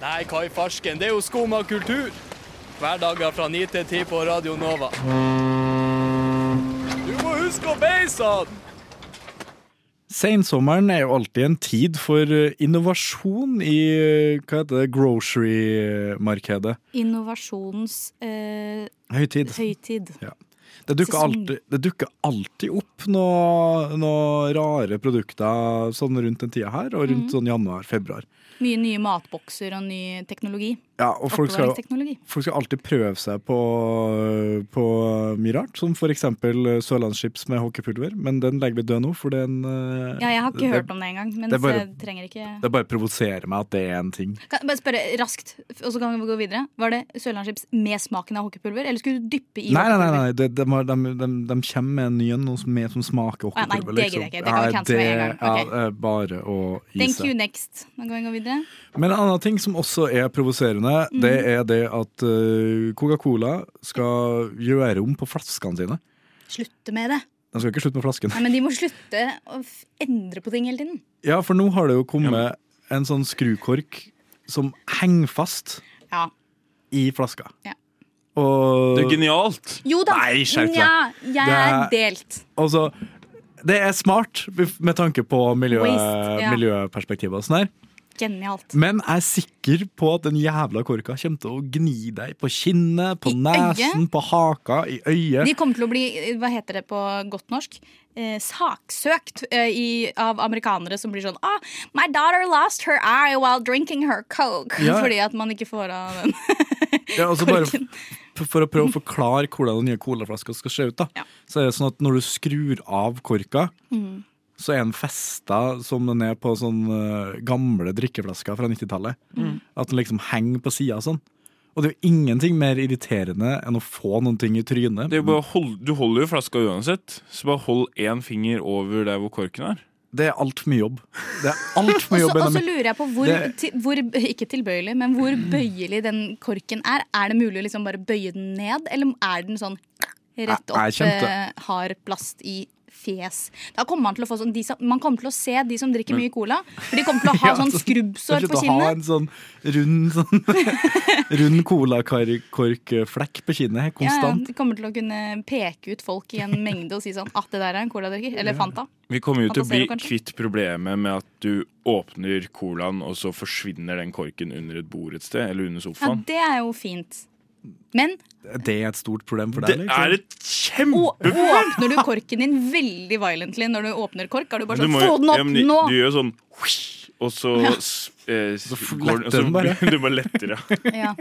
Speaker 10: Nei, hva i farsken, det er jo skum av kultur. Hverdager fra ni til ti på Radio Nova. Du må huske å beise han!
Speaker 3: Sensommeren er jo alltid en tid for eh, innovasjon i eh, hva heter det, grocery-markedet.
Speaker 4: Innovasjonens eh,
Speaker 3: Høytid.
Speaker 4: høytid.
Speaker 3: Ja. Det dukker,
Speaker 4: Sesong.
Speaker 3: alltid, det dukker alltid opp noen noe rare produkter sånn rundt den tida her, og rundt
Speaker 4: Mhm.
Speaker 3: sånn januar-februar.
Speaker 4: Mye nye matbokser og ny teknologi.
Speaker 3: Ja, og folk skal,
Speaker 4: Oppbevaringsteknologi.
Speaker 3: folk skal alltid prøve seg på, på mye rart, som for eksempel eh, sørlandschips med hockeypulver, men den legger vi død nå, for den eh,
Speaker 4: Ja, jeg har ikke hørt om det engang, men
Speaker 3: det er bare-
Speaker 4: jeg trenger ikke
Speaker 3: Det bare provoserer meg at det er en ting.
Speaker 4: Kan jeg bare spørre raskt, og så kan vi gå videre. Var det sørlandschips med smaken av hockeypulver, eller skulle du dyppe i
Speaker 3: Nei, nei, nei, nei. De, de, har- de, de, de kommer med en ny en nå som, er- som smaker
Speaker 4: Å ja, nei,
Speaker 3: hockeypulver.
Speaker 4: det gidder jeg ikke. Det kan vi
Speaker 3: Nei,
Speaker 4: cancel med en
Speaker 3: det
Speaker 4: gang. Ok.
Speaker 3: er, eh, bare å gi
Speaker 4: Thank
Speaker 3: seg.
Speaker 4: you next. Nå kan vi gå videre.
Speaker 3: Men en annen ting som også er provoserende, det
Speaker 4: Mm.
Speaker 3: er det at eh, Coca-Cola skal gjøre om på flaskene sine.
Speaker 4: Slutte med det.
Speaker 3: De skal ikke slutte med flaskene.
Speaker 4: Nei, men de må slutte å f- endre på ting hele tiden.
Speaker 3: Ja, for nå har det jo kommet en sånn skrukork som henger fast
Speaker 4: Ja.
Speaker 3: i flaska.
Speaker 4: Ja.
Speaker 3: Og
Speaker 5: Det er genialt.
Speaker 4: Jo da!
Speaker 3: Nei, skjerp deg.
Speaker 4: Nja, jeg er
Speaker 3: Det
Speaker 4: delt.
Speaker 3: Altså, det er smart med tanke på miljø,
Speaker 4: Waste, ja.
Speaker 3: miljøperspektivet og sånn her.
Speaker 4: Genialt.
Speaker 3: Men jeg er sikker på at den jævla korka kommer til å gni deg på kinnet, på nesen, på haka, i øyet.
Speaker 4: De kommer til å bli, hva heter det på godt norsk, eh, saksøkt eh, i, av amerikanere som blir sånn ah, My daughter lost her eye while drinking her coke.
Speaker 3: Ja.
Speaker 4: Fordi at man ikke får av den.
Speaker 3: Ja, altså bare f- for å prøve å forklare hvordan den nye colaflaska skal se ut, da. Så er det sånn at når du skrur av korka,
Speaker 4: Mm.
Speaker 3: så er den festa som den er på sånn eh, gamle drikkeflasker fra 90-tallet.
Speaker 11: Mm.
Speaker 3: At den liksom henger på sida sånn. Og det er jo ingenting mer irriterende enn å få noen ting i trynet.
Speaker 5: Det er jo bare å hold- du holder jo flaska uansett, så bare hold én finger over der hvor korken er.
Speaker 3: Det er altfor mye jobb. Det er altfor mye
Speaker 4: Og
Speaker 3: jobb.
Speaker 4: så
Speaker 3: Benjamin.
Speaker 4: lurer jeg på hvor,
Speaker 3: Det- Mm.
Speaker 4: ti, hvor Ikke tilbøyelig, men hvor bøyelig den korken er. Er det mulig å liksom bare bøye den ned, eller er den sånn rett
Speaker 3: Jeg-
Speaker 4: opp,
Speaker 3: jeg kjente-
Speaker 4: eh, har plast i fjes? Da kommer Man til å få sånn de som, Man kommer til å se de som drikker
Speaker 3: Men-
Speaker 4: mye cola, for de kommer til å ha
Speaker 3: Ja,
Speaker 4: sånn
Speaker 3: sånn-
Speaker 4: skrubbsår
Speaker 3: Slutt å
Speaker 4: på
Speaker 3: ha
Speaker 4: kinnet.
Speaker 3: en sånn rund, sånn, rund colakorkflekk på kinnet
Speaker 4: Ja,
Speaker 3: konstant.
Speaker 4: ja, de kommer til å kunne peke ut folk i en mengde og si sånn at det der er en coladrikker. Eller Fanta.
Speaker 5: Vi kommer jo til å bli
Speaker 4: Fantasero, kanskje?
Speaker 5: kvitt problemet med at du åpner colaen, og så forsvinner den korken under et bord et sted, eller
Speaker 4: Ja,
Speaker 5: under sofaen.
Speaker 4: det er jo fint. Men
Speaker 3: Det er et stort problem for
Speaker 5: Det
Speaker 3: deg? liksom.
Speaker 5: er et
Speaker 4: å-
Speaker 5: kjempeproblem!
Speaker 4: åpner du korken din veldig violently når du åpner kork? Er du bare
Speaker 5: Du
Speaker 4: sånn
Speaker 5: må jo-
Speaker 4: Få den
Speaker 5: ja,
Speaker 4: opp
Speaker 5: men du-
Speaker 4: nå!
Speaker 5: Du gjør sånn og så
Speaker 4: Ja.
Speaker 5: s- eh, s- går den, og
Speaker 3: letter
Speaker 5: så
Speaker 3: den bare.
Speaker 5: Du bare letter, ja.
Speaker 4: Ja.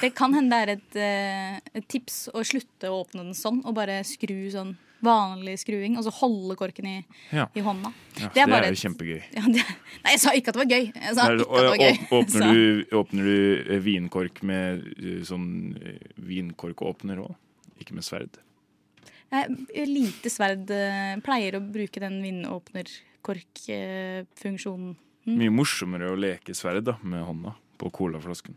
Speaker 4: Det kan hende det er et, eh, et tips å slutte å åpne den sånn, og bare skru sånn vanlig skruing, og så holde korken i,
Speaker 5: Ja.
Speaker 4: i hånda.
Speaker 5: Ja,
Speaker 4: Det er
Speaker 5: det
Speaker 4: bare
Speaker 5: er jo
Speaker 4: et-
Speaker 5: kjempegøy.
Speaker 4: Ja, det, nei, jeg sa ikke at det var gøy. Jeg sa
Speaker 5: Der,
Speaker 4: ikke at det var gøy.
Speaker 5: å- åpner,
Speaker 4: Så-
Speaker 5: du, åpner du eh, vinkork med eh, sånn eh, vinkorkåpner òg? Ikke med sverd.
Speaker 4: Nei, lite sverd eh, pleier å bruke den vindåpnerkorkfunksjonen. Mm.
Speaker 5: Mye morsommere å leke sverd da, med hånda på colaflasken.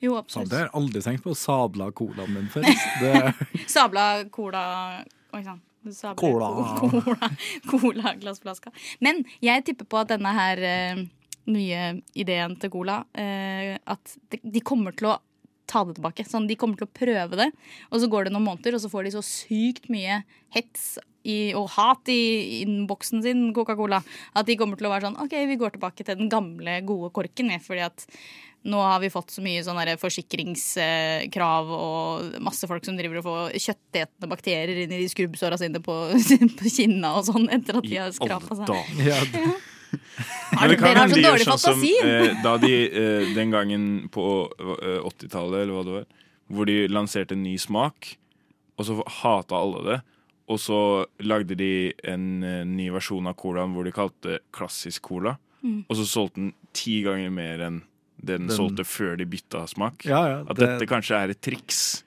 Speaker 4: Jo,
Speaker 3: Sånn,
Speaker 4: absolutt.
Speaker 3: det har jeg aldri tenkt på. Sabla colaen min før. Det,
Speaker 4: Sabla cola Oi sann. Sabla-
Speaker 3: Cola.
Speaker 4: Cola, cola glassflaska. Men jeg tipper på at denne her eh, nye ideen til Cola eh, At de- de kommer til å ta det tilbake. Sånn, de kommer til å prøve det, og så går det noen måneder, og så får de så sykt mye hets i, og hat i innboksen sin, Coca-Cola, at de kommer til å være sånn OK, vi går tilbake til den gamle, gode korken, vi, fordi at nå har vi fått så mye sånne der forsikringskrav og masse folk som driver og får kjøttetende bakterier inn i de skrubbsåra sine på, på kinna og sånn etter at de har skrapa seg.
Speaker 3: ja,
Speaker 4: Har du- dere har så dårlig fantasi!
Speaker 5: eh, da de eh, den gangen på eh, 80-tallet, eller hva det var, hvor de lanserte en ny smak, og så hata alle det. Og så lagde de en eh, ny versjon av colaen hvor de kalte det klassisk cola.
Speaker 3: Mm.
Speaker 5: Og så solgte den ti ganger mer enn det den
Speaker 3: Den-
Speaker 5: solgte før de bytta smak.
Speaker 3: Ja, ja,
Speaker 5: At
Speaker 3: det-
Speaker 5: dette kanskje er et triks.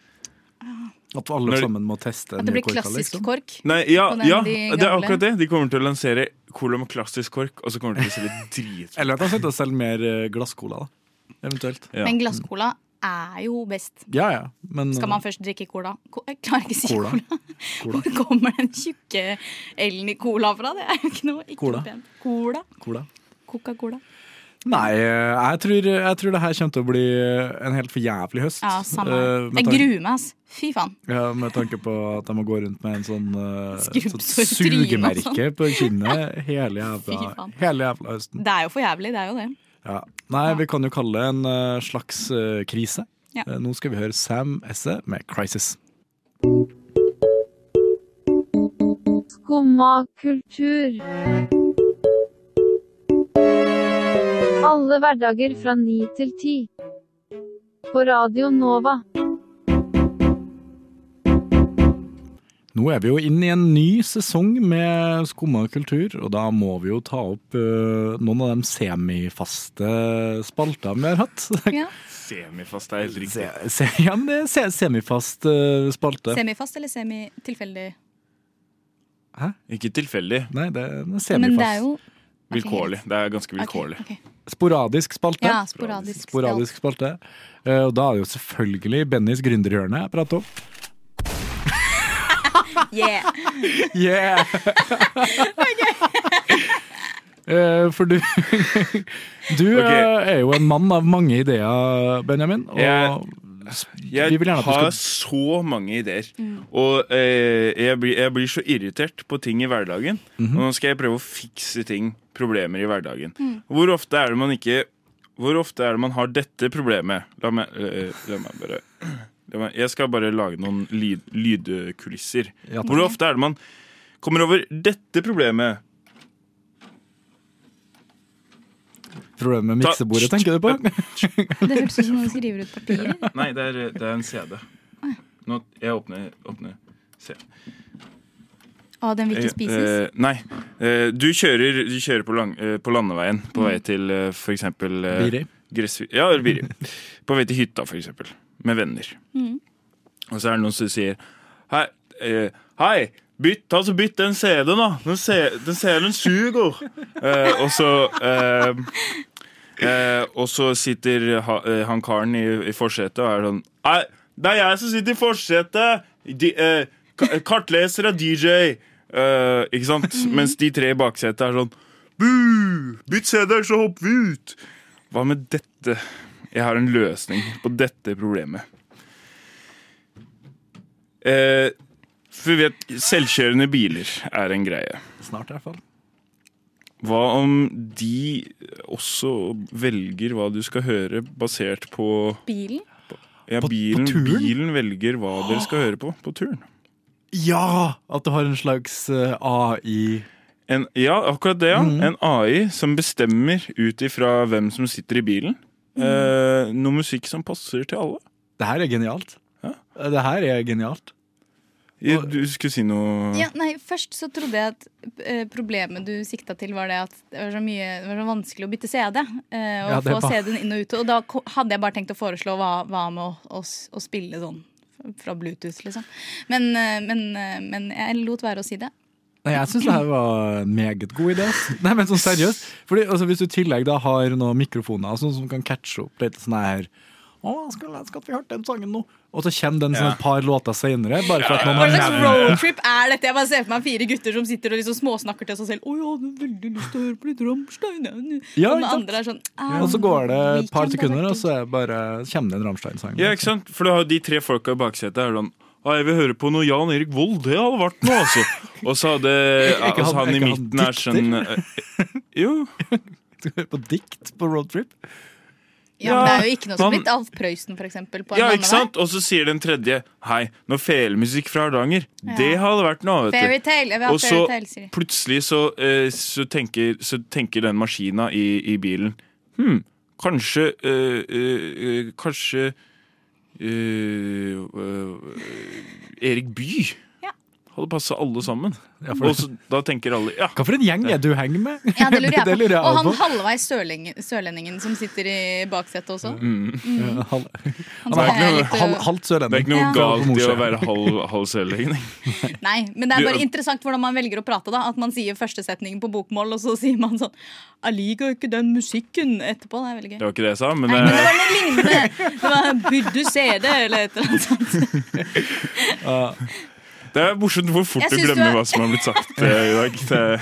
Speaker 3: at alle
Speaker 5: Når-
Speaker 3: sammen må teste
Speaker 4: At det
Speaker 3: nye
Speaker 4: blir
Speaker 3: korker,
Speaker 4: klassisk
Speaker 3: liksom.
Speaker 4: kork.
Speaker 5: Nei, ja,
Speaker 4: på den
Speaker 5: ja
Speaker 4: de
Speaker 5: det er
Speaker 4: gamle.
Speaker 5: akkurat det. De kommer til å lansere cola med klassisk kork, og så kommer de til å selge drit.
Speaker 3: Eller at de slutter å selge mer eh, glasscola, da. Eventuelt.
Speaker 4: Men glasscola er jo best.
Speaker 3: Ja, ja. Men eh,
Speaker 4: Skal man først drikke cola? Co- Jeg klarer ikke å si
Speaker 3: Mm. Cola.
Speaker 4: cola. Hvor kommer den tjukke L-en i cola fra? Det er jo ikke noe, ikke
Speaker 3: Cola.
Speaker 4: noe pent. Cola.
Speaker 3: cola?
Speaker 4: Coca-Cola.
Speaker 3: Nei, eh, jeg tror, jeg tror det her kommer til å bli eh, en helt for jævlig høst.
Speaker 4: Ja, samme.
Speaker 3: Eh, med
Speaker 4: jeg
Speaker 3: tanke-
Speaker 4: gruer meg, ass. Fy faen.
Speaker 3: Ja, Med tanke på at jeg må gå rundt med en sånn, eh,
Speaker 4: Skrubbsår
Speaker 3: sånn
Speaker 4: i trynet og sånn.
Speaker 3: sugemerke på kinnet hele
Speaker 4: Fy
Speaker 3: jævla,
Speaker 4: faen.
Speaker 3: hele jævla høsten.
Speaker 4: Det er jo for jævlig, det er jo det.
Speaker 3: Ja. Nei, vi kan jo kalle det en eh, slags eh, krise.
Speaker 4: Ja.
Speaker 3: Eh, nå skal vi høre Sam Esse med 'Crisis'.
Speaker 11: Skumma kultur. Alle hverdager fra ni til ti. På Radio Nova.
Speaker 3: Nå er vi jo inn i en ny sesong med Skumma kultur, og da må vi jo ta opp eh, noen av de semifaste spaltene vi har hatt.
Speaker 4: Ja.
Speaker 5: Semifast er helt riktig.
Speaker 3: Se- se- ja, men det er se- semifast eh, spalte.
Speaker 4: Semifast eller semi-tilfeldig?
Speaker 3: Hæ?
Speaker 5: Ikke tilfeldig.
Speaker 3: Nei, det er en
Speaker 4: Men
Speaker 3: semifast.
Speaker 4: det er jo
Speaker 5: Vilkårlig. Det er ganske vilkårlig.
Speaker 3: Sporadisk spalte.
Speaker 4: Ja, sporadisk
Speaker 3: sporadisk spalte. Eh, Og da er det jo selvfølgelig Bennys gründerhjørne jeg prater om.
Speaker 4: Yeah!
Speaker 3: Yeah! Eh, For du, du
Speaker 5: Ok.
Speaker 3: eh, er jo en mann av mange ideer, Benjamin. Og
Speaker 5: Jeg-
Speaker 3: vi
Speaker 5: Jeg
Speaker 3: vil gjerne at du
Speaker 5: har
Speaker 3: skal
Speaker 5: så mange ideer. Og eh, jeg, blir, jeg blir så irritert på ting i hverdagen.
Speaker 3: Mhm.
Speaker 5: Og nå skal jeg prøve å fikse ting, problemer i hverdagen.
Speaker 12: Mhm.
Speaker 5: Hvor ofte er det man ikke Hvor ofte er det man har dette problemet? La meg, eh, la meg bare la meg, Jeg skal bare lage noen lyd, lydkulisser.
Speaker 3: Ja, takk.
Speaker 5: Hvor ofte er det man kommer over dette problemet?
Speaker 3: Problemet med miksebordet, tenker du på?
Speaker 4: Det hørtes ut som noen skriver ut papirer.
Speaker 5: Nei, det er, eh, det er en CD. Nå, jeg åpner, åpner CD.
Speaker 4: Å, den vil ikke spises.
Speaker 5: Eh, nei. Eh, du, kjører, du kjører på, lang, eh, på landeveien på
Speaker 4: Mm.
Speaker 5: vei til eh, for eksempel eh,
Speaker 3: Biri.
Speaker 5: Gressvi- Ja, eller Biri. på vei til hytta, for eksempel. Med venner.
Speaker 4: Mm.
Speaker 5: Og så er det noen som sier Hei, eh, hei bytt, ta så bytt den CD-en, da! Den, C- den CD-en suger! Eh, og så eh, eh, Og så sitter ha, eh, han karen i, i forsetet og er sånn Nei, det er jeg som sitter i forsetet! De, eh, ka- kartleser og DJ! Eh, ikke sant? Mens de tre i baksetet er sånn Bu! Bytt CD-en, så hopper vi ut! Hva med dette? Jeg har en løsning på dette problemet. Eh, for vi vet, selvkjørende biler er en greie.
Speaker 3: Snart, i hvert fall.
Speaker 5: Hva om de også velger hva du skal høre, basert på
Speaker 4: Bilen?
Speaker 5: ja, bilen, bilen velger hva dere skal høre på på turen.
Speaker 3: Ja! At du har en slags eh, AI
Speaker 5: En, ja, akkurat det, ja. En AI som bestemmer ut ifra hvem som sitter i bilen.
Speaker 4: Mm.
Speaker 5: Eh, noe musikk som passer til alle.
Speaker 3: Det her er genialt. Eh, Det her er genialt.
Speaker 5: Du skulle si noe
Speaker 3: Mm.
Speaker 4: Ja, nei, Først så trodde jeg at eh, problemet du sikta til, var det at det var så, mye, det var så vanskelig å bytte CD. eh, og
Speaker 3: Ja, det
Speaker 4: få
Speaker 3: er bare-
Speaker 4: CD-en inn og ut. Og da ko- hadde jeg bare tenkt å foreslå hva, hva med å, å, s- å spille sånn fra Bluetooth, liksom. Men, eh, men, eh, men jeg lot være å si det.
Speaker 3: Nei, jeg syns det her var en meget god idé. ass. Nei, men sånn seriøst. Fordi, altså, hvis du i tillegg da har noen mikrofoner og sånn som kan catche opp litt sånn her å, skulle ønske at vi hørte den sangen nå. Og så kommer den som et par låter seinere. Bare for at noen har
Speaker 4: Hva slags
Speaker 3: nevnt
Speaker 4: roadtrip er dette? Jeg bare ser for meg fire gutter som sitter og liksom småsnakker til seg selv. Å, jeg hadde veldig lyst til å høre på litt Rammstein. jeg».
Speaker 3: Ja,
Speaker 4: og den
Speaker 3: ikke sant?
Speaker 4: andre er sånn
Speaker 3: det. Og så går det et par sekunder, og så er det bare, kommer det en Rammstein-sang.
Speaker 5: Ja, ikke sant? For da har de tre folka i baksetet er sånn «Å, jeg vil høre på noe Jan Erik Vold, det hadde vært noe, altså. Og så hadde
Speaker 3: Ikke
Speaker 5: og så
Speaker 3: han-
Speaker 5: han i
Speaker 3: ikke han
Speaker 5: midten er sånn
Speaker 3: dikter.
Speaker 5: eh, Jo.
Speaker 3: Skal vi høre på dikt på roadtrip?
Speaker 4: Ja, men det er jo ikke noe som
Speaker 5: man-
Speaker 4: blitt Alf Prøysen, for eksempel. På en
Speaker 5: Ja,
Speaker 4: annen
Speaker 5: ikke sant? Og så sier den tredje Hei, noe felemusikk fra Hardanger. Det hadde vært
Speaker 4: vei.
Speaker 5: noe, vet du.
Speaker 4: Fairytale. Jeg vil ha
Speaker 5: Og så
Speaker 4: fairytale, sier de.
Speaker 5: plutselig så, eh, så, tenker, så tenker den maskina i, i bilen Hm, kanskje eh, eh, eh, Kanskje eh, eh, Erik Bye hadde passa alle sammen.
Speaker 3: for-
Speaker 5: Og så, da tenker alle ja.
Speaker 3: Hva for en gjeng er du henger med?
Speaker 4: Ja, det lurer jeg på.
Speaker 3: Det lurer jeg
Speaker 4: og han
Speaker 3: også på.
Speaker 4: halvveis sørleng- sørlendingen som sitter i baksetet også.
Speaker 5: Mm.
Speaker 3: Ja, hal-
Speaker 4: Han
Speaker 3: Han er
Speaker 4: skal
Speaker 3: ikke
Speaker 4: være
Speaker 3: noe-
Speaker 4: litt, øh,
Speaker 3: hal- halvt sørlending.
Speaker 5: Det er ikke noe
Speaker 4: Ja.
Speaker 5: galt i å være halv, halv sørlending.
Speaker 4: Nei, men det er bare
Speaker 5: Du-
Speaker 4: interessant hvordan man velger å prate. da At man sier første setningen på bokmål, og så sier man sånn Jeg liker jo ikke den musikken etterpå. Det er veldig gøy.
Speaker 5: Det var ikke det jeg sa, men,
Speaker 4: Nei, men det
Speaker 5: eh,
Speaker 4: var noe lignende. Det var 'Burde du se det?' eller et eller annet sånt.
Speaker 5: Ja. Det er morsomt hvor fort
Speaker 4: Jeg
Speaker 5: du
Speaker 4: synes
Speaker 5: glemmer
Speaker 4: du er-
Speaker 5: hva som har blitt sagt eh, i dag. Det,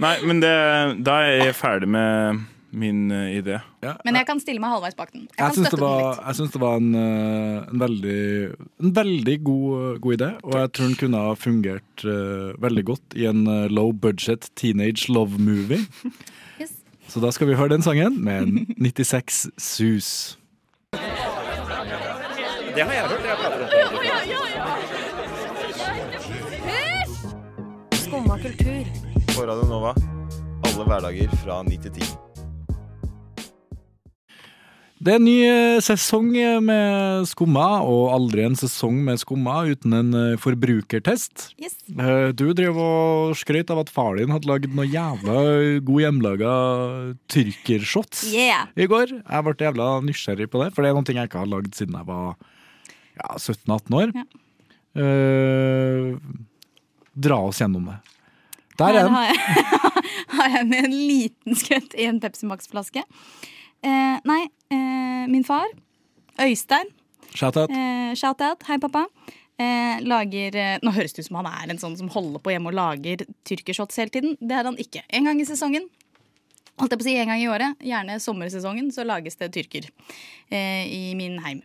Speaker 5: nei, men det, da er jeg ferdig med min eh, idé.
Speaker 4: Men jeg kan stille meg halvveis bak den. Jeg kan
Speaker 3: Jeg syns
Speaker 4: støtte
Speaker 3: det var, jeg syns det var en, eh, en veldig, en veldig god, eh, god idé, og jeg tror den kunne ha fungert eh, veldig godt i en eh, low budget teenage love movie.
Speaker 4: Yes.
Speaker 3: Så da skal vi høre den sangen med en 96 Sus.
Speaker 12: Det har jeg hørt. Jeg
Speaker 13: Skumma kultur.
Speaker 14: På Radio Nova. Alle hverdager fra 9 til 10.
Speaker 3: Det er en ny eh, sesong med Skumma, og aldri en sesong med Skumma uten en eh, forbrukertest.
Speaker 4: Yes.
Speaker 3: Eh, Du drev og skrøt av at far din hadde lagd noe jævla god hjemmelaga tyrkershots
Speaker 4: Yeah.
Speaker 3: i går. Jeg ble jævla nysgjerrig på det, for det er noen ting jeg ikke har lagd siden jeg var ja, 17-18 år. Eh, dra oss gjennom det. Der er
Speaker 4: Her
Speaker 3: den.
Speaker 4: har jeg, har jeg med en liten skvett i en Pepsi Max-flaske. Eh, nei, eh, min far, Øystein
Speaker 3: Shout-out.
Speaker 4: eh, Shout-out. Hei, pappa. Eh, lager, eh, nå høres det ut som han er en sånn som holder på hjemme og lager tyrkershots hele tiden. Det er han ikke. En gang i sesongen. Holdt jeg på å si en gang i året, gjerne sommersesongen, så lages det tyrker eh, i min heim.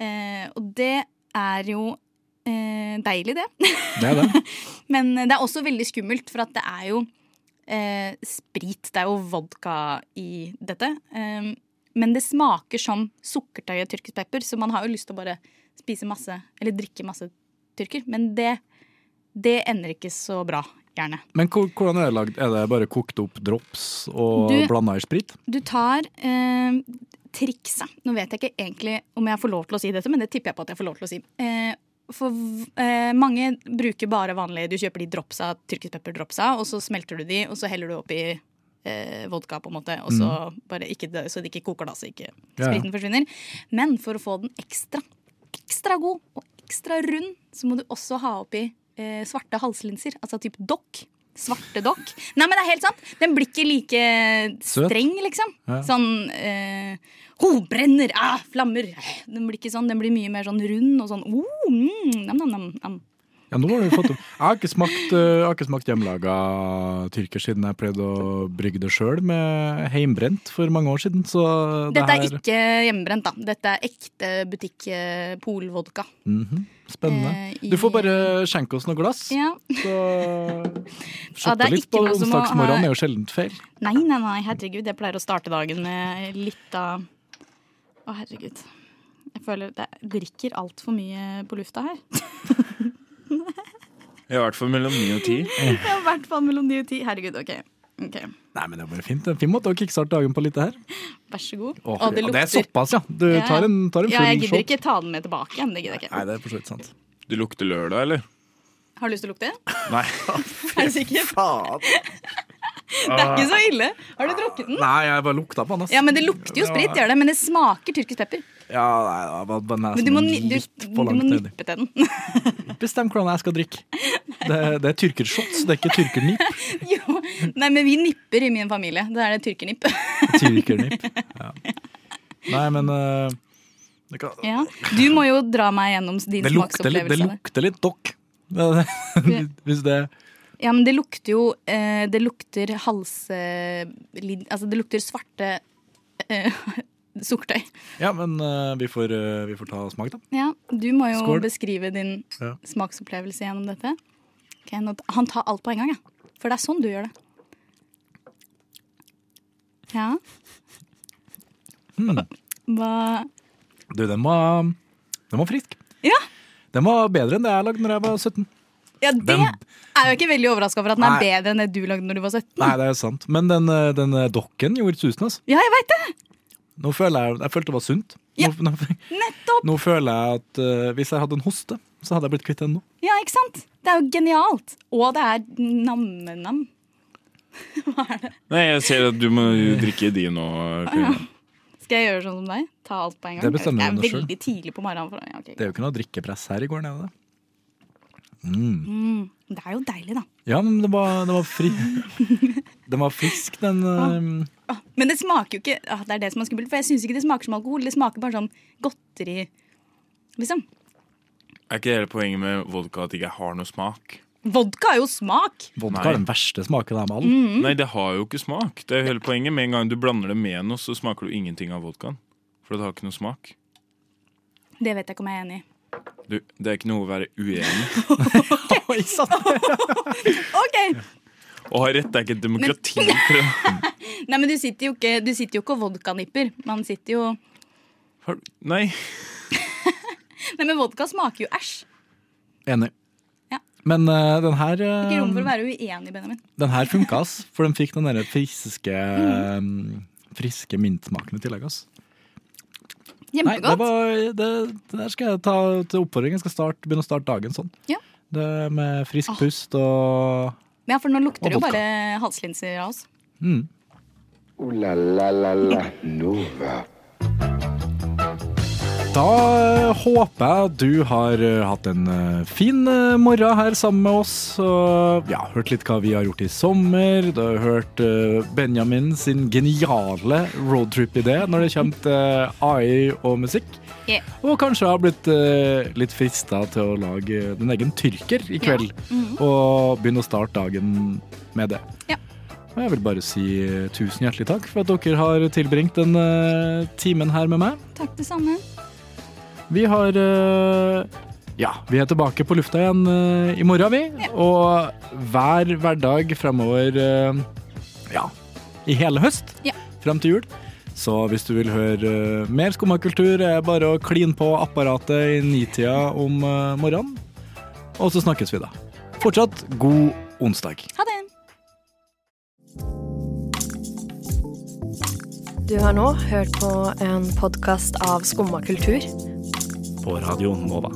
Speaker 4: Eh, og det er jo eh, deilig, det.
Speaker 3: Det er det.
Speaker 4: Men eh, det er også veldig skummelt, for at det er jo eh, sprit. Det er jo vodka i dette. Eh, men det smaker som sukkertøy og tyrkisk pepper, så man har jo lyst til å bare spise masse, eller drikke masse tyrker. Men det, det ender ikke så bra, gjerne.
Speaker 3: Men hvor- hvordan er det lagd? Er det bare kokt opp drops og
Speaker 4: Du-
Speaker 3: blanda i sprit?
Speaker 4: Du tar eh, trikset. Nå vet jeg ikke egentlig om jeg får lov til å si dette, men det tipper jeg på at jeg får lov til å si. Eh, for v- eh, mange bruker bare vanlige Du kjøper de dropsa, tyrkisk pepper-dropsa, og så smelter du de, og så heller du oppi eh, vodka, på en måte, og så bare ikke, dø- så det ikke koker, da, så ikke
Speaker 15: Mm. Ja, ja.
Speaker 4: spriten forsvinner. Men for å få den ekstra, ekstra god og ekstra rund, så må du også ha oppi eh, svarte halslinser, altså typ dokk. Svarte dokk. Nei, men det er helt sant! Den blir ikke like
Speaker 15: Søt.
Speaker 4: streng, liksom.
Speaker 15: Ja.
Speaker 4: Sånn eh, «Ho, brenner! Ah, flammer! Den blir ikke sånn, den blir mye mer sånn rund og sånn oh, mm, nam, nam, nam, nam.
Speaker 3: Ja, nå har du fått opp. Jeg har ikke smakt, eh, jeg har ikke smakt hjemmelaga tyrker siden jeg pleide å brygge det sjøl med heimbrent for mange år siden. Så det
Speaker 4: Dette er
Speaker 3: her-
Speaker 4: ikke hjemmebrent, da. Dette er ekte butikk eh, polvodka.
Speaker 3: Mhm. Spennende.
Speaker 4: Eh, i-
Speaker 3: Du får bare skjenke oss noen glass.
Speaker 4: Ja. Ja,
Speaker 3: Shoppe
Speaker 4: det er
Speaker 3: litt
Speaker 4: ikke
Speaker 3: på
Speaker 4: noe som å ha-
Speaker 3: onsdagsmorgenen er jo sjelden feil.
Speaker 4: Nei, nei, nei, herregud. Jeg pleier å starte dagen med litt av Å, herregud. Jeg føler det jeg drikker altfor mye på lufta her.
Speaker 5: I hvert fall mellom ni og ti.
Speaker 4: Ja, I hvert fall mellom 9 og 10. Herregud, OK. Ok.
Speaker 3: Nei, men det var fint. det. Fin måte å kickstarte dagen på litt det her.
Speaker 4: Vær så god.
Speaker 3: Å,
Speaker 4: Å,
Speaker 3: det, er
Speaker 4: lukter.
Speaker 3: såpass, ja. Du
Speaker 4: Ja, ja.
Speaker 3: tar en, tar en
Speaker 4: ja, jeg
Speaker 3: full
Speaker 4: gidder
Speaker 3: shot.
Speaker 4: ikke ta den med tilbake igjen. Det gidder jeg ikke.
Speaker 3: Nei, det er for så vidt sant.
Speaker 5: Det lukter lørdag, eller?
Speaker 4: Har du lyst til å lukte?
Speaker 5: Nei.
Speaker 4: Er du sikker? Det er ikke så ille. Har du drukket den?
Speaker 3: Nei, jeg bare lukta på den. ass.
Speaker 4: Ja, men Det lukter jo sprit, gjør det, men det smaker tyrkisk pepper.
Speaker 3: Ja, nei, det var bare
Speaker 4: Men
Speaker 3: nesen
Speaker 4: du må, ni- du,
Speaker 3: sånn litt
Speaker 4: du
Speaker 3: på
Speaker 4: må
Speaker 3: langt nedi.
Speaker 4: nippe til den.
Speaker 3: Bestem hvordan jeg skal drikke. Det, det er tyrkershots, det er ikke tyrkernip.
Speaker 4: Jo. Nei, men vi nipper i min familie. Da er det tyrkernipp.
Speaker 3: Tyrkernip. Ja. Nei, men eh, det, kan,
Speaker 4: Ja. Du må jo dra meg gjennom din
Speaker 3: det, lukter litt, det
Speaker 4: smaksopplevelse. av det.
Speaker 3: lukter litt dokk. Det- det- Hvis det
Speaker 4: Ja, men det lukter jo eh, Det lukter halselin... Altså, det lukter svarte eh, sukkertøy.
Speaker 3: Ja, men eh, vi, får, eh, vi får ta smak, da.
Speaker 4: Ja, du må jo
Speaker 3: Skål.
Speaker 4: beskrive din
Speaker 3: Ja.
Speaker 4: smaksopplevelse gjennom dette. Ok, nå, han tar alt på en gang, ja. For det er sånn du gjør det. Ja,
Speaker 3: Hmm.
Speaker 4: hva
Speaker 3: Du, den var, den var frisk.
Speaker 4: Ja,
Speaker 3: Den var bedre enn det jeg lagde når jeg var 17.
Speaker 4: ja det
Speaker 3: Den-
Speaker 4: er jo ikke veldig overraska over at den er
Speaker 3: Nei.
Speaker 4: bedre enn det du lagde når du var 17.
Speaker 3: Nei, det er sant. Men den, eh, den eh, dokken gjorde susen, altså.
Speaker 4: Ja, jeg veit det!
Speaker 3: Nå føler jeg, jeg følte det var sunt. Nå, nå,
Speaker 4: Nettopp!
Speaker 3: nå føler jeg at eh, hvis jeg hadde en hoste, så hadde jeg blitt kvitt den nå.
Speaker 4: Ja, ikke sant? Det er jo genialt. Og det er namme-nam.
Speaker 5: Nei, jeg ser at du må jo drikke de nå. Karina.
Speaker 4: Skal jeg gjøre sånn som deg? Ta alt på en gang?
Speaker 3: Det bestemmer
Speaker 4: jeg
Speaker 3: du
Speaker 4: er
Speaker 3: selv.
Speaker 4: veldig tidlig på morgenen. For, ja, ok.
Speaker 3: Det er jo ikke noe drikkepress her i går, er det det? Mm.
Speaker 4: Mm, det er jo deilig, da.
Speaker 3: Ja, men den var, den var fri... Den var frisk, den
Speaker 4: Ah.
Speaker 3: eh,
Speaker 4: Men det smaker jo ikke ah, Det er det som er skummelt, for jeg syns ikke det smaker som alkohol. Det smaker bare sånn godteri, liksom.
Speaker 5: Er ikke det hele poenget med vodka at det ikke har noe smak?
Speaker 4: Vodka er jo smak!
Speaker 3: Vodka er den verste smaken av dem alle.
Speaker 4: Mhm.
Speaker 5: Nei, det har jo ikke smak. Det er jo hele poenget. Med en gang du blander det med noe, så smaker du ingenting av vodkaen. For det har ikke noe smak.
Speaker 4: Det vet jeg ikke om jeg er enig i.
Speaker 5: Du, det er ikke noe å være uenig i.
Speaker 3: Oi, sant.
Speaker 4: OK!
Speaker 5: Å ha rett det er ikke et demokrati. Karina.
Speaker 4: Nei, men du sitter jo ikke, du sitter jo ikke og vodkanipper. Man sitter jo
Speaker 5: Nei.
Speaker 4: Nei, men vodka smaker jo æsj.
Speaker 3: Enig.
Speaker 4: Ja.
Speaker 3: Men eh, den her eh,
Speaker 4: Ikke rom for å være uenig, Benjamin.
Speaker 3: Den her funka, ass. For den fikk den der friske, mm. friske mintsmaken i tillegg. ass. Nei, det,
Speaker 4: Kjempegodt.
Speaker 3: var, det, det der skal jeg ta til oppfordring. Jeg skal starte, begynne å starte dagen sånn.
Speaker 4: Ja.
Speaker 3: Det med frisk pust og
Speaker 4: Men ja, for nå lukter
Speaker 3: Og
Speaker 4: det jo
Speaker 3: vodka.
Speaker 4: bare halslinser av oss.
Speaker 3: mm.
Speaker 2: Ooh la la la la Nova.
Speaker 3: Da eh, håper jeg at du har eh, hatt en eh, fin eh, morgen her sammen med oss. Og ja, hørt litt hva vi har gjort i sommer. Du har hørt eh, Benjamin sin geniale roadtrip-idé når det kommer til AI og musikk.
Speaker 4: Yeah.
Speaker 3: Og kanskje har blitt eh, litt frista til å lage din egen tyrker i kveld.
Speaker 4: Mhm.
Speaker 3: Og begynne å starte dagen med det. Og jeg vil bare si eh, tusen hjertelig takk for at dere har tilbringt den eh, timen her med meg.
Speaker 4: Takk, det samme.
Speaker 3: Vi har eh, Ja, vi er tilbake på lufta igjen eh, i morgen, vi. Og hver hverdag fremover eh, Ja, i hele høst
Speaker 4: Ja.
Speaker 3: frem til jul. Så hvis du vil høre eh, mer skummakultur, er det bare å kline på apparatet i nitida om eh, morgenen. Og så snakkes vi, da. Fortsatt god onsdag.
Speaker 4: Ha det.
Speaker 12: Du har nå hørt på en podkast av Skumma kultur.
Speaker 3: På Radio Nova.